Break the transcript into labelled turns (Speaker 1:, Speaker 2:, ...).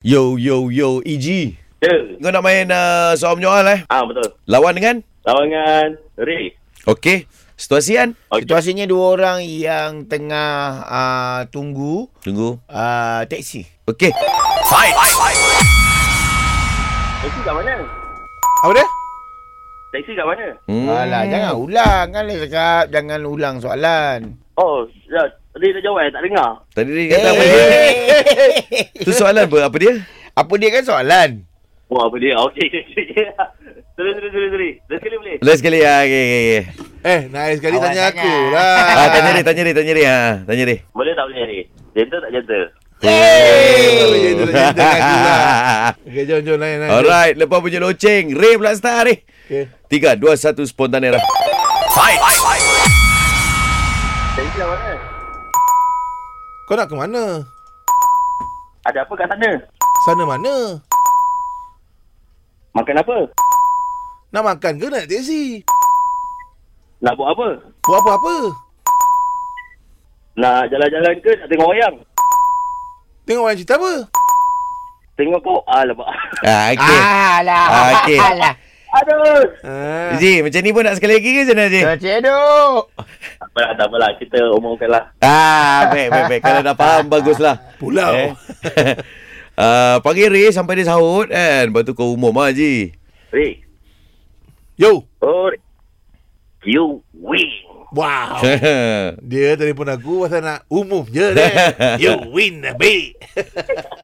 Speaker 1: Yo yo yo EG
Speaker 2: Ya.
Speaker 1: Kau nak main uh, soal menyoal eh
Speaker 2: Ah betul.
Speaker 1: Lawan dengan
Speaker 2: Lawangan Ray.
Speaker 1: Okey Situasi kan
Speaker 2: Okey.
Speaker 3: Situasinya dua orang yang tengah uh, tunggu
Speaker 1: Tunggu
Speaker 3: uh, teksi.
Speaker 1: Okey
Speaker 2: Taxi kat mana?
Speaker 3: Apa dia?
Speaker 2: Taxi kat mana?
Speaker 1: hmm.
Speaker 3: Alah, jangan ulang. Kan dia cakap jangan ulang soalan.
Speaker 2: Oh, ya, Ray dah jawab eh, tak dengar.
Speaker 1: Tadi dia kata Eh. apa dia Tu soalan apa, apa dia
Speaker 3: Apa dia kan soalan?
Speaker 2: Wah, apa dia? Okey. Terus, terus, terus, terus. Terus sekali boleh?
Speaker 1: Lain sekali ah, okay, okay, okay.
Speaker 4: Eh, naik sekali
Speaker 3: Awak
Speaker 4: tanya
Speaker 3: sangat.
Speaker 4: aku lah.
Speaker 1: ah, Tanya dia tanya dia tanya dia ha, Tanya dia
Speaker 2: Boleh tak boleh Ray? Gentle tak gentle?
Speaker 4: Yeay. Dia tanya aku lah. Okay, jom, jom, lain, lain.
Speaker 1: Alright Lepas punya loceng Ray pula start Ray
Speaker 4: Okay.
Speaker 1: Tiga, dua, satu Spontan era
Speaker 2: Taxi kat mana?
Speaker 4: Kau nak ke mana?
Speaker 2: Ada apa kat sana?
Speaker 4: Sana mana?
Speaker 2: Makan apa?
Speaker 4: Nak makan ke nak teksi?
Speaker 2: Nak buat apa?
Speaker 4: Buat apa-apa?
Speaker 2: Nak jalan-jalan ke nak tengok wayang?
Speaker 4: Tengok orang cerita apa?
Speaker 2: Tengok kau. Ah, lepak.
Speaker 1: ah, Okay
Speaker 3: Alah.
Speaker 1: Okey.
Speaker 3: Alah.
Speaker 2: Aduh.
Speaker 4: Ah.
Speaker 1: Zee, macam ni pun nak sekali lagi ke macam mana Zee?
Speaker 3: Dah cedok.
Speaker 2: Tak apalah, tak apalah. Kita omongkanlah.
Speaker 1: Ah, baik, baik, baik. Kalau dah faham, baguslah.
Speaker 4: Pulau.
Speaker 1: Eh? uh, panggil Ray sampai dia sahut kan. Lepas tu kau umum lah, Haji.
Speaker 2: Ray.
Speaker 4: Yo.
Speaker 2: Oh, Ray. You win.
Speaker 4: Wow.
Speaker 1: Eh.
Speaker 4: Dia telefon aku pasal nak umum je. Dek. You win, babe.